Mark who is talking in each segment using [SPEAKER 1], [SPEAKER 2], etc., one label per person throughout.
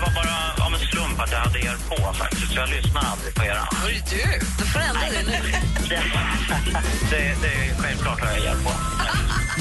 [SPEAKER 1] var bara av en slump att jag hade er på faktiskt, så jag lyssnade aldrig på er. Hörru du, du får ändra dig det, det är självklart har jag er på.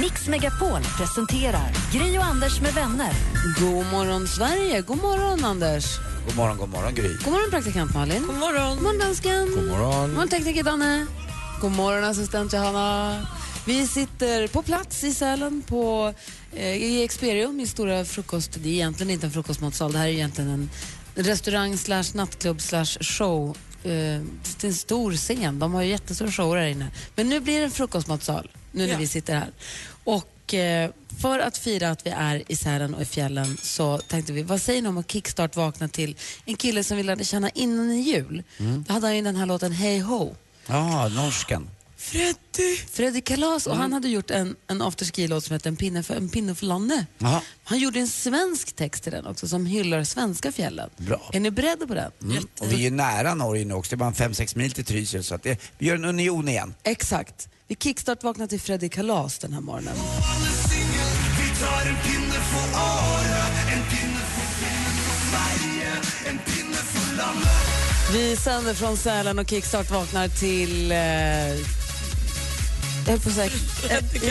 [SPEAKER 2] Mix Megapol presenterar Gri och Anders med vänner.
[SPEAKER 3] God morgon, Sverige! God morgon, Anders!
[SPEAKER 4] God morgon, god morgon Gry.
[SPEAKER 3] God morgon, praktikant Malin! God morgon, god morgon dansken! God
[SPEAKER 4] morgon.
[SPEAKER 3] morgon, tekniker Danne! God morgon, assistent Johanna! Vi sitter på plats i Sälen på, eh, i Experium i stora frukost... Det är egentligen inte en frukostmatsal, det här är egentligen en restaurang slash nattklubb slash show. Eh, det är en stor scen, de har ju jättestora shower här inne. Men nu blir det en frukostmatsal, nu när vi sitter här. Och eh, för att fira att vi är i Sälen och i fjällen så tänkte vi, vad säger ni om att kickstart vakna till en kille som vi lärde känna innan i jul?
[SPEAKER 4] Mm.
[SPEAKER 3] Då hade han ju den här låten Hey Ho.
[SPEAKER 4] Ja, norsken.
[SPEAKER 3] Freddy! Freddy Kalas och
[SPEAKER 4] Mm.
[SPEAKER 3] han hade gjort en, en afterski-låt som hette En pinne för, en pinne för Lanne.
[SPEAKER 4] Jaha.
[SPEAKER 3] Han gjorde en svensk text till den också som hyllar svenska fjällen.
[SPEAKER 4] Bra.
[SPEAKER 3] Är ni beredda på den?
[SPEAKER 4] Mm. Och vi är ju nära Norge nu också, det är bara 5-6 mil till Trysil så att det, vi gör en union igen.
[SPEAKER 3] Exakt. Vi kickstart vaknar till Freddy Kalas den här morgonen. Vi sänder från Sälen och kickstart vaknar till... Eh, jag höll på att säga...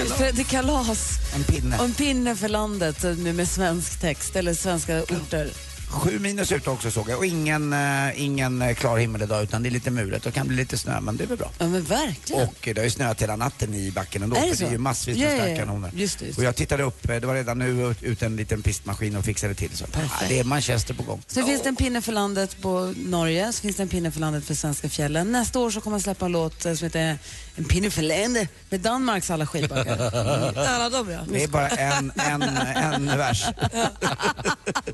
[SPEAKER 3] eh, Freddy Kalas.
[SPEAKER 4] En pinne.
[SPEAKER 3] Och en pinne för landet eh, med med svensk text eller svenska orter.
[SPEAKER 4] Sju minus ute också såg jag och ingen, eh, ingen eh, klar himmel idag utan det är lite mulet och kan bli lite snö men det är väl bra.
[SPEAKER 3] Ja men verkligen.
[SPEAKER 4] Och eh, det har ju snöat hela natten i backen ändå
[SPEAKER 3] Är det
[SPEAKER 4] för det är
[SPEAKER 3] så?
[SPEAKER 4] ju massvis
[SPEAKER 3] Ja,
[SPEAKER 4] med
[SPEAKER 3] ja, ja.
[SPEAKER 4] snökanoner.
[SPEAKER 3] Just det, just
[SPEAKER 4] Och jag tittade upp, eh, det var redan nu ut en liten pistmaskin och fixade till så. Ja, det är Manchester på gång.
[SPEAKER 3] Sen finns det en pinne för landet på Norge, så finns det en pinne för landet för svenska fjällen. Nästa år så kommer jag släppa en låt eh, som heter En pinne för landet med Danmarks alla skidbackar.
[SPEAKER 5] Alla dem ja.
[SPEAKER 4] Det är bara en, en, en vers.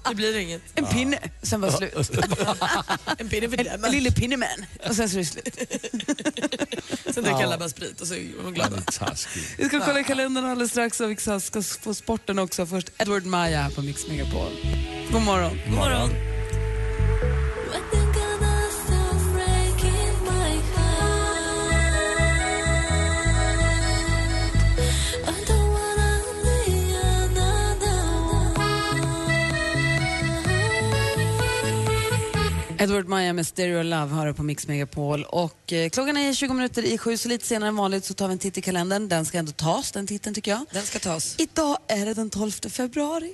[SPEAKER 5] Det blir inget.
[SPEAKER 3] En pinne, sen var det slut.
[SPEAKER 5] En pinne för
[SPEAKER 3] En lille pinneman och sen så är det slut.
[SPEAKER 5] Sen dricker alla bara sprit och så är de glada.
[SPEAKER 3] Vi ska kolla i kalendern alldeles strax och vi ska ska få sporten också. Först Edward Maja här på Mix Megapol. God morgon.
[SPEAKER 5] God morgon.
[SPEAKER 3] Edward Maja med Stereo Love hör på Mix Megapol. Och, eh, klockan är 20 minuter i sju, så lite senare än vanligt så tar vi en titt i kalendern. Den ska ändå tas, den titeln tycker jag.
[SPEAKER 5] Den ska tas.
[SPEAKER 3] Idag är det den 12 februari.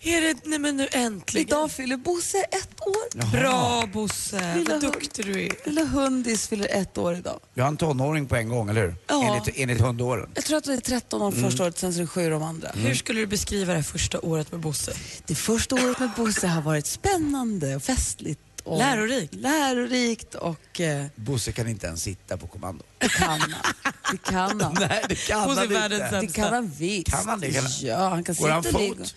[SPEAKER 5] Är det, nej men nu äntligen.
[SPEAKER 3] Idag fyller Bosse ett år.
[SPEAKER 5] Bra Bosse,
[SPEAKER 3] Lilla
[SPEAKER 5] vad
[SPEAKER 3] hund.
[SPEAKER 5] duktig du är.
[SPEAKER 3] Lilla Hundis fyller ett år idag.
[SPEAKER 4] Vi har en tonåring på en gång, eller hur?
[SPEAKER 3] Ja.
[SPEAKER 4] Enligt, enligt hundåren.
[SPEAKER 3] Jag tror att det är 13 år
[SPEAKER 4] Mm.
[SPEAKER 3] första året, sen så är det 7 de andra.
[SPEAKER 5] Hur skulle du beskriva det här första året med Bosse?
[SPEAKER 3] Det första året med Bosse har varit spännande och festligt. Och
[SPEAKER 5] Lärorikt.
[SPEAKER 3] Lärorikt och eh,
[SPEAKER 4] Bosse kan inte ens sitta på kommando.
[SPEAKER 3] det kan han. Det kan han.
[SPEAKER 4] Nej, det kan
[SPEAKER 5] Bosse
[SPEAKER 4] han
[SPEAKER 5] är världens
[SPEAKER 4] inte.
[SPEAKER 3] Det kan han visst.
[SPEAKER 4] Kan han det? Kan han-
[SPEAKER 3] Ja, han kan
[SPEAKER 4] Går han
[SPEAKER 3] sitta och
[SPEAKER 4] fot?
[SPEAKER 3] ligga.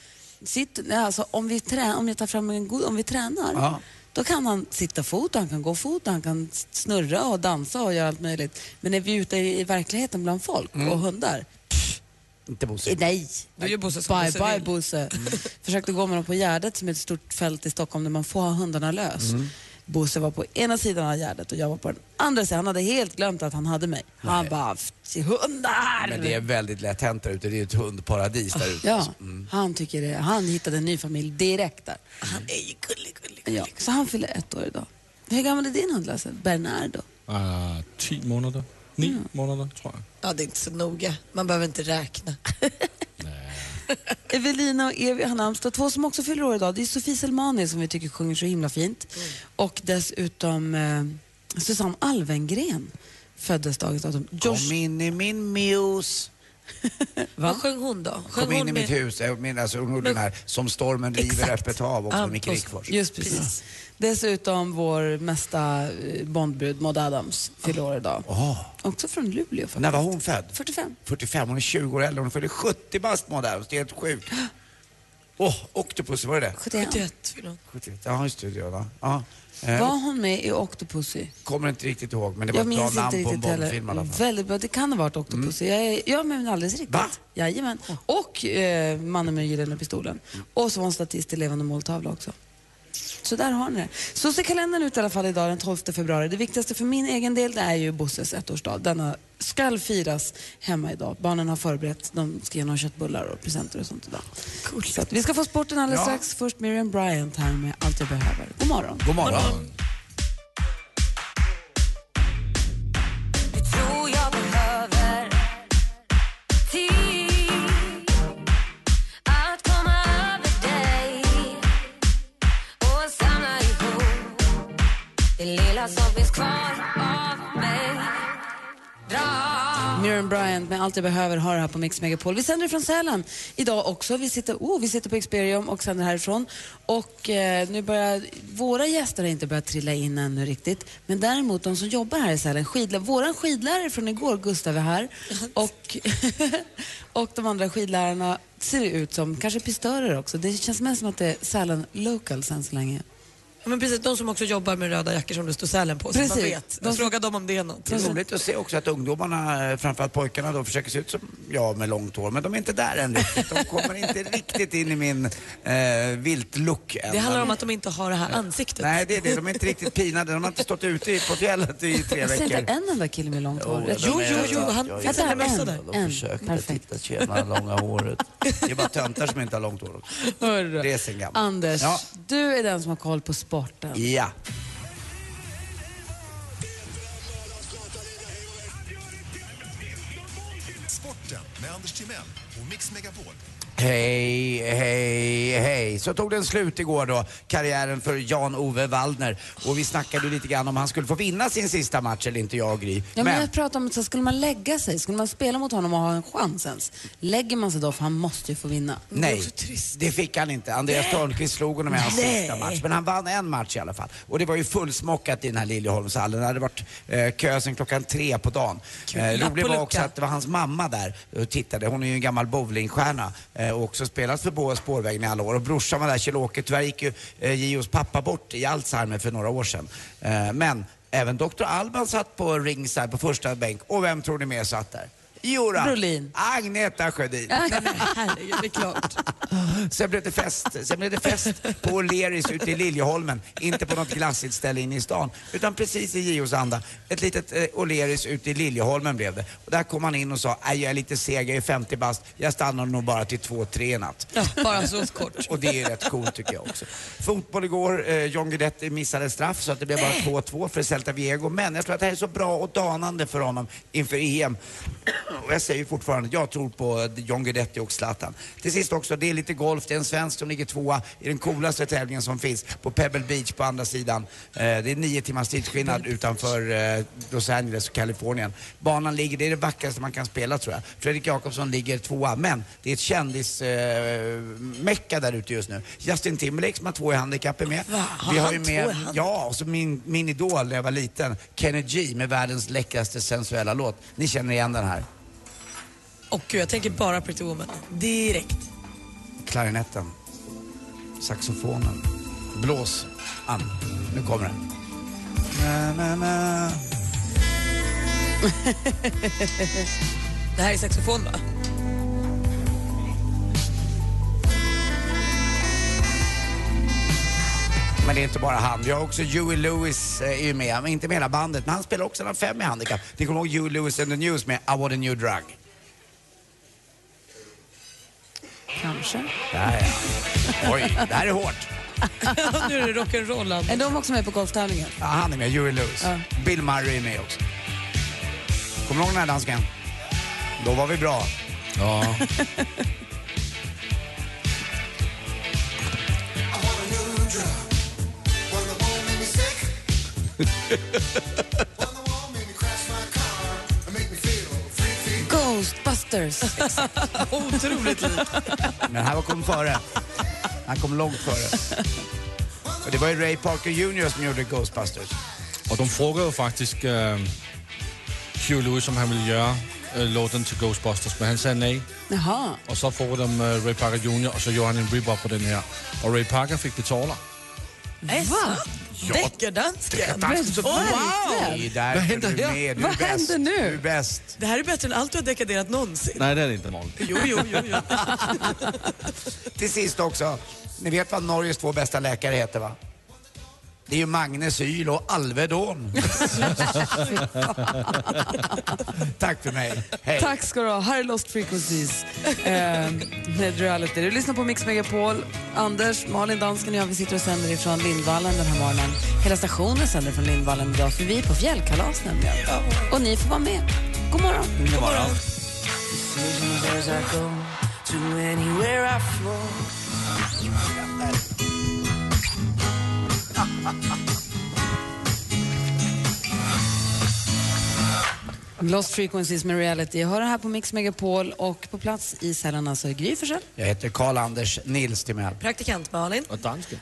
[SPEAKER 3] Sitt, nej, alltså, om, vi trä, om jag tar fram en god, om vi tränar,
[SPEAKER 4] Ja.
[SPEAKER 3] då kan han sitta fot, och han kan gå fot, och han kan s- snurra och dansa och göra allt möjligt. Men när vi är ute i, i verkligheten bland folk
[SPEAKER 4] Mm.
[SPEAKER 3] och hundar, Eh,
[SPEAKER 4] Inte Bosse.
[SPEAKER 3] nej.
[SPEAKER 5] Då gör Bosse som
[SPEAKER 3] bye,
[SPEAKER 5] Bosse
[SPEAKER 3] bye
[SPEAKER 5] vill.
[SPEAKER 3] Bosse. Försökte gå med dem på Gärdet som är ett stort fält i Stockholm där man får ha hundarna lös.
[SPEAKER 4] Mm.
[SPEAKER 3] Bosse var på ena sidan av Gärdet och jag var på den andra sidan. Han hade helt glömt att han hade mig. Han bara, "F- hundar!
[SPEAKER 4] Men det är väldigt lätt hänt där ute. Det är ju ett hundparadis där ute. Alltså,
[SPEAKER 3] Ja, han tycker det. Han hittade en ny familj direkt där.
[SPEAKER 5] Mm. Han är ju gullig, gullig,
[SPEAKER 3] Ja, så han fyller ett år idag. Hur gammal är din hund Lasse? Bernardo?
[SPEAKER 6] Ah, 10 månader. 9 månader, tror jag.
[SPEAKER 5] Ja, det är inte så noga. Man behöver inte räkna.
[SPEAKER 3] Evelina och Evi har namnsdag, två som också fyller år idag. Det är Sofie Selmani som vi tycker sjunger så himla fint.
[SPEAKER 5] Mm.
[SPEAKER 3] Och dessutom eh, Susanne Alvengren föddes dagens datum.
[SPEAKER 4] Kom
[SPEAKER 3] Josh,
[SPEAKER 4] in i min muse.
[SPEAKER 5] Vad sjöng hon då? Sjöng
[SPEAKER 4] Kom in
[SPEAKER 5] hon
[SPEAKER 4] i mitt hus. Jag menar, så hon gjorde den här Som stormen river
[SPEAKER 5] Exakt.
[SPEAKER 4] öppet hav också
[SPEAKER 5] Ja,
[SPEAKER 4] med Micke
[SPEAKER 5] och-
[SPEAKER 4] Rickfors.
[SPEAKER 3] just precis.
[SPEAKER 5] Precis.
[SPEAKER 3] Dessutom vår mesta eh, Bondbrud Maud Adams fyller år idag.
[SPEAKER 4] Åh.
[SPEAKER 3] Också från Luleå faktiskt.
[SPEAKER 4] När var hon född?
[SPEAKER 3] 45.
[SPEAKER 4] 45. Hon är 20 år äldre. Hon fyller 70 bast Maud Adams. Det är helt sjukt. Åh, Octopus, var det det?
[SPEAKER 3] 71.
[SPEAKER 5] 71 vill hon.
[SPEAKER 4] 71. Ja, just det. Ja, ja. Eh,
[SPEAKER 3] Var hon med i Octopussy?
[SPEAKER 4] Kommer inte riktigt ihåg, men det var
[SPEAKER 3] Jag
[SPEAKER 4] ett bra
[SPEAKER 3] minns inte
[SPEAKER 4] namn på en
[SPEAKER 3] riktigt
[SPEAKER 4] Bondfilm i alla
[SPEAKER 3] heller.
[SPEAKER 4] fall. Mm.
[SPEAKER 3] Väldigt bra. Det kan ha varit Octopussy. Jag är, ja, men alldeles riktigt.
[SPEAKER 4] Va? Oh.
[SPEAKER 3] Jajamän. Och eh, Mannen med gyllene pistolen. Och så var hon statist i Levande måltavla också. Så där har ni det. Så ser kalendern ut i alla fall idag den 12 februari. Det viktigaste för min egen del det är ju Bosses ettårsdag. Denna skall firas hemma idag. Barnen har förberett, de ska ge några köttbullar och presenter och sånt idag. Så att vi ska få sporten alldeles
[SPEAKER 4] Ja.
[SPEAKER 3] strax. Först Miriam Bryant här med Allt jag behöver. God morgon.
[SPEAKER 4] God morgon.
[SPEAKER 3] Miriam Bryant med Allt jag behöver har det här på Mix Megapol. Vi sänder från Sälen idag också. Vi sitter, oh, vi sitter på Experium och sänder härifrån. Och eh, nu börjar, våra gäster har inte börjat trilla in ännu riktigt. Men däremot de som jobbar här i Sälen, skidlä- våran skidlärare från igår, Gustav är här. Och, och de andra skidlärarna ser ut som, kanske pistörer också. Det känns mest som att det är Sälen Locals än så länge.
[SPEAKER 5] Ja, men precis, de som också jobbar med röda jackor som det står Sälen på. Så man
[SPEAKER 3] Precis.
[SPEAKER 5] vet.
[SPEAKER 3] De-
[SPEAKER 5] Jag frågar dem om det är något.
[SPEAKER 4] Det är roligt att se också att ungdomarna, eh, framförallt pojkarna då, försöker se ut som jag med långt hår, men de är inte där än riktigt. De kommer inte riktigt in i min eh, viltlook än.
[SPEAKER 5] Det handlar om att de inte har det här ansiktet.
[SPEAKER 4] Nej, det är det. De är inte riktigt pinade. De har inte stått ute i- på fjället i tre
[SPEAKER 3] Jag ser inte
[SPEAKER 4] veckor. Oh,
[SPEAKER 3] en enda kille med långt hår.
[SPEAKER 5] Jo, jo, jo, han-
[SPEAKER 3] Jag tar en,
[SPEAKER 5] mössa där.
[SPEAKER 3] en. Perfekt.
[SPEAKER 4] tjena, långa håret. Det är bara töntar som inte har långt hår också.
[SPEAKER 3] Hörru.
[SPEAKER 4] Det är sen gammalt.
[SPEAKER 3] Anders,
[SPEAKER 4] Ja.
[SPEAKER 3] du är den som har koll på sporten.
[SPEAKER 4] Ja.
[SPEAKER 7] Sporten med Anders Timell och Mix Megapol.
[SPEAKER 4] Hej, hej, hej. Så tog den slut igår då, karriären för Jan-Ove Waldner. Och vi snackade ju lite grann om han skulle få vinna sin sista match eller inte, jag och Gry.
[SPEAKER 3] Ja, men jag pratar om att så skulle man lägga sig, skulle man spela mot honom och ha en chans ens? Lägger man sig då, för han måste ju få vinna.
[SPEAKER 4] Nej, det fick han inte. Andreas Törnqvist slog honom i hans sista match. Men han vann en match i alla fall. Och det var ju fullsmockat i den här Liljeholmshallen. Det hade varit eh, kö sen klockan tre på dagen. Eh,
[SPEAKER 5] Lapp
[SPEAKER 4] roligt
[SPEAKER 5] och
[SPEAKER 4] var
[SPEAKER 5] lucka.
[SPEAKER 4] också att det var hans mamma där och tittade. Hon är ju en gammal bowlingstjärna eh, och också spelat för Boa Spårvägen i alla år. Och brorsan var där, Kjell-Åke. Tyvärr gick ju eh, Gios pappa bort i Alzheimer för några år sedan. Eh, men även Dr. Alban satt på rings här på första bänk. Och vem tror ni mer satt där? Jodå,
[SPEAKER 3] Brolin.
[SPEAKER 4] Agneta Sjödin.
[SPEAKER 5] Herregud, det är klart.
[SPEAKER 4] Sen blev det fest, sen blev det fest på O'Learys ute i Liljeholmen. Inte på något glassigt ställe inne i stan, utan precis i Gios anda. Ett litet eh, O'Learys ute i Liljeholmen blev det. Och där kom han in och sa, "Nej, jag är lite seg, jag är 50 bast, jag stannar nog bara till 2-3 i natt.
[SPEAKER 5] Ja, bara så kort.
[SPEAKER 4] Och det är rätt coolt tycker jag också. Fotboll igår, eh, John Guidetti missade straff så att det blev bara 2-2 för Celta Viego. Men jag tror att det här är så bra och danande för honom inför EM. Och jag säger fortfarande, jag tror på eh, John Guidetti och Zlatan. Till sist också, det är lite golf. Det är en svensk som ligger tvåa i den coolaste tävlingen som finns på Pebble Beach på andra sidan. Eh, det är nio timmars tidsskillnad utanför eh, Los Angeles och Kalifornien. Banan ligger, det är det vackraste man kan spela tror jag. Fredrik Jakobsson ligger tvåa, men det är ett kändismecka eh, där ute just nu. Justin Timberlake som har två i handikapp är med.
[SPEAKER 5] Har han två i handikapp?
[SPEAKER 4] Ja, och så min, min idol när jag var liten, Kenny G med världens läckraste sensuella låt. Ni känner igen den här.
[SPEAKER 5] Och gud, jag tänker bara Pretty Woman. Direkt.
[SPEAKER 4] klarinetten, saxofonen, blås, an. Nu kommer den. Na, na, na.
[SPEAKER 5] Det här är saxofon va?
[SPEAKER 4] Men det är inte bara han. Vi har också Huey Lewis eh, är ju med, men inte med hela bandet. Men han spelar också när han fem i handikapp. Ni kommer ihåg Huey Lewis and the News med I want a new drug.
[SPEAKER 3] Kanske.
[SPEAKER 4] Där ja. Oj, det här är hårt.
[SPEAKER 5] nu är det rock'n'roll Anders.
[SPEAKER 3] Är de också med på golftävlingen?
[SPEAKER 4] Ja, han är med, Huey Lewis.
[SPEAKER 3] Ja.
[SPEAKER 4] Bill Murray är med också. Kommer du ihåg den här dansken? Då var vi bra.
[SPEAKER 6] Ja.
[SPEAKER 3] Ghostbusters.
[SPEAKER 5] Otroligt likt.
[SPEAKER 4] Men den här var kom före. Han kom långt före. Och det var ju Ray Parker Jr som gjorde Ghostbusters.
[SPEAKER 6] Och de frågade jo faktisk øh, Hugh Lewis, om han ville gøre øh, lå den til Ghostbusters, men han sagde nej.
[SPEAKER 3] Jaha.
[SPEAKER 6] Og så får de øh, Ray Parker Jr., og så gjorde han en rip-off på den her. Och Ray Parker fick betalar.
[SPEAKER 5] Va? Deckardansken?
[SPEAKER 6] Deckardansken.
[SPEAKER 5] Wow!
[SPEAKER 4] Det är därför
[SPEAKER 6] Vad händer
[SPEAKER 4] du är med.
[SPEAKER 6] här?
[SPEAKER 4] Du är
[SPEAKER 3] Vad
[SPEAKER 4] bäst.
[SPEAKER 3] händer
[SPEAKER 4] Du är
[SPEAKER 3] nu?
[SPEAKER 4] bäst.
[SPEAKER 5] Det här är bättre än allt du har dekaderat någonsin.
[SPEAKER 6] Nej, det är det inte Malin.
[SPEAKER 5] Jo, jo, jo. jo.
[SPEAKER 4] Till sist också, ni vet vad Norges två bästa läkare heter va? Det är ju Magnus Yl och Alvedon. Tack för mig. Hej.
[SPEAKER 3] Tack ska du ha. Här är Lost Frequencies eh, med Reality. Du lyssnar på Mix Megapol. Anders, Malin, dansken och jag, vi sitter och sänder ifrån Lindvallen den här morgonen. Hela stationen sänder från Lindvallen idag, för vi är på fjällkalas nämligen. Och ni får vara med. God morgon. God morgon. Lost Frequencies med Reality. Jag hör det här på Mix Megapol och på plats i Sällan alltså Gry Forssell.
[SPEAKER 4] Jag heter Karl-Anders Nils Timell.
[SPEAKER 5] Praktikant Malin.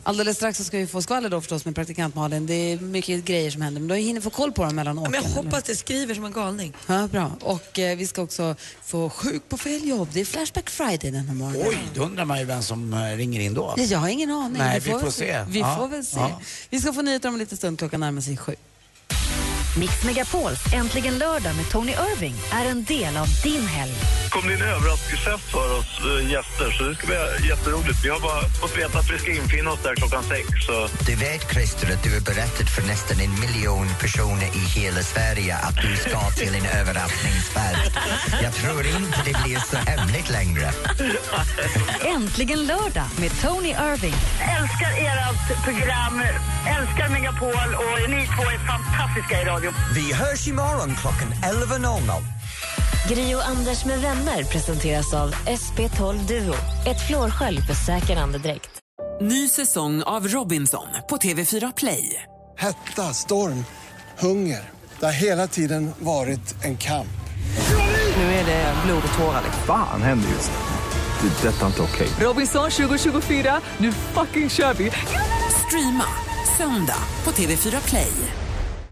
[SPEAKER 3] Alldeles strax så ska vi få skvaller då förstås med praktikant Malin. Det är mycket grejer som händer, men du hinner få koll på dem mellan åren.
[SPEAKER 5] Men jag hoppas det skriver som en galning.
[SPEAKER 3] Ja, bra. Och eh, vi ska också få sjuk på fel jobb. Det är Flashback Friday den här morgonen.
[SPEAKER 4] Oj, då undrar man ju vem som eh, ringer in då.
[SPEAKER 3] Ja, Jag har ingen aning.
[SPEAKER 4] Nej, vi får
[SPEAKER 3] väl
[SPEAKER 4] se.
[SPEAKER 3] Vi
[SPEAKER 4] Ja,
[SPEAKER 3] får väl se.
[SPEAKER 4] ja.
[SPEAKER 3] Vi ska få nyheter om en liten stund. Klockan närmar sig sju.
[SPEAKER 2] Mix Megapols Äntligen lördag med Tony Irving är en del av din helg.
[SPEAKER 1] kom det en överraskningsfest för oss eh, gäster, så det ska bli jätteroligt. Vi har bara fått veta att vi ska infinna oss där klockan sex. Så.
[SPEAKER 8] Du vet, Christer, att du har berättat för nästan en miljon personer i hela Sverige att du ska till en överraskningsfest. Jag tror inte det blir så hemligt längre.
[SPEAKER 2] Äntligen lördag med Tony Irving.
[SPEAKER 1] Älskar ert program, älskar Megapol och ni två är fantastiska i radio.
[SPEAKER 8] Vi hörs imorgon klockan 11.00.
[SPEAKER 2] Gri och Anders med vänner presenteras av SP12 Duo. Ett flårskölj för säker andedräkt.
[SPEAKER 9] Ny säsong av Robinson på TV4 Play.
[SPEAKER 10] Hetta, storm, hunger. Det har hela tiden varit en kamp.
[SPEAKER 9] Nu är det blod och tårar.
[SPEAKER 11] Fan händer just nu. Det. är Detta är inte okej.
[SPEAKER 9] Robinson 2024, nu fucking kör vi! Streama söndag på TV4 Play.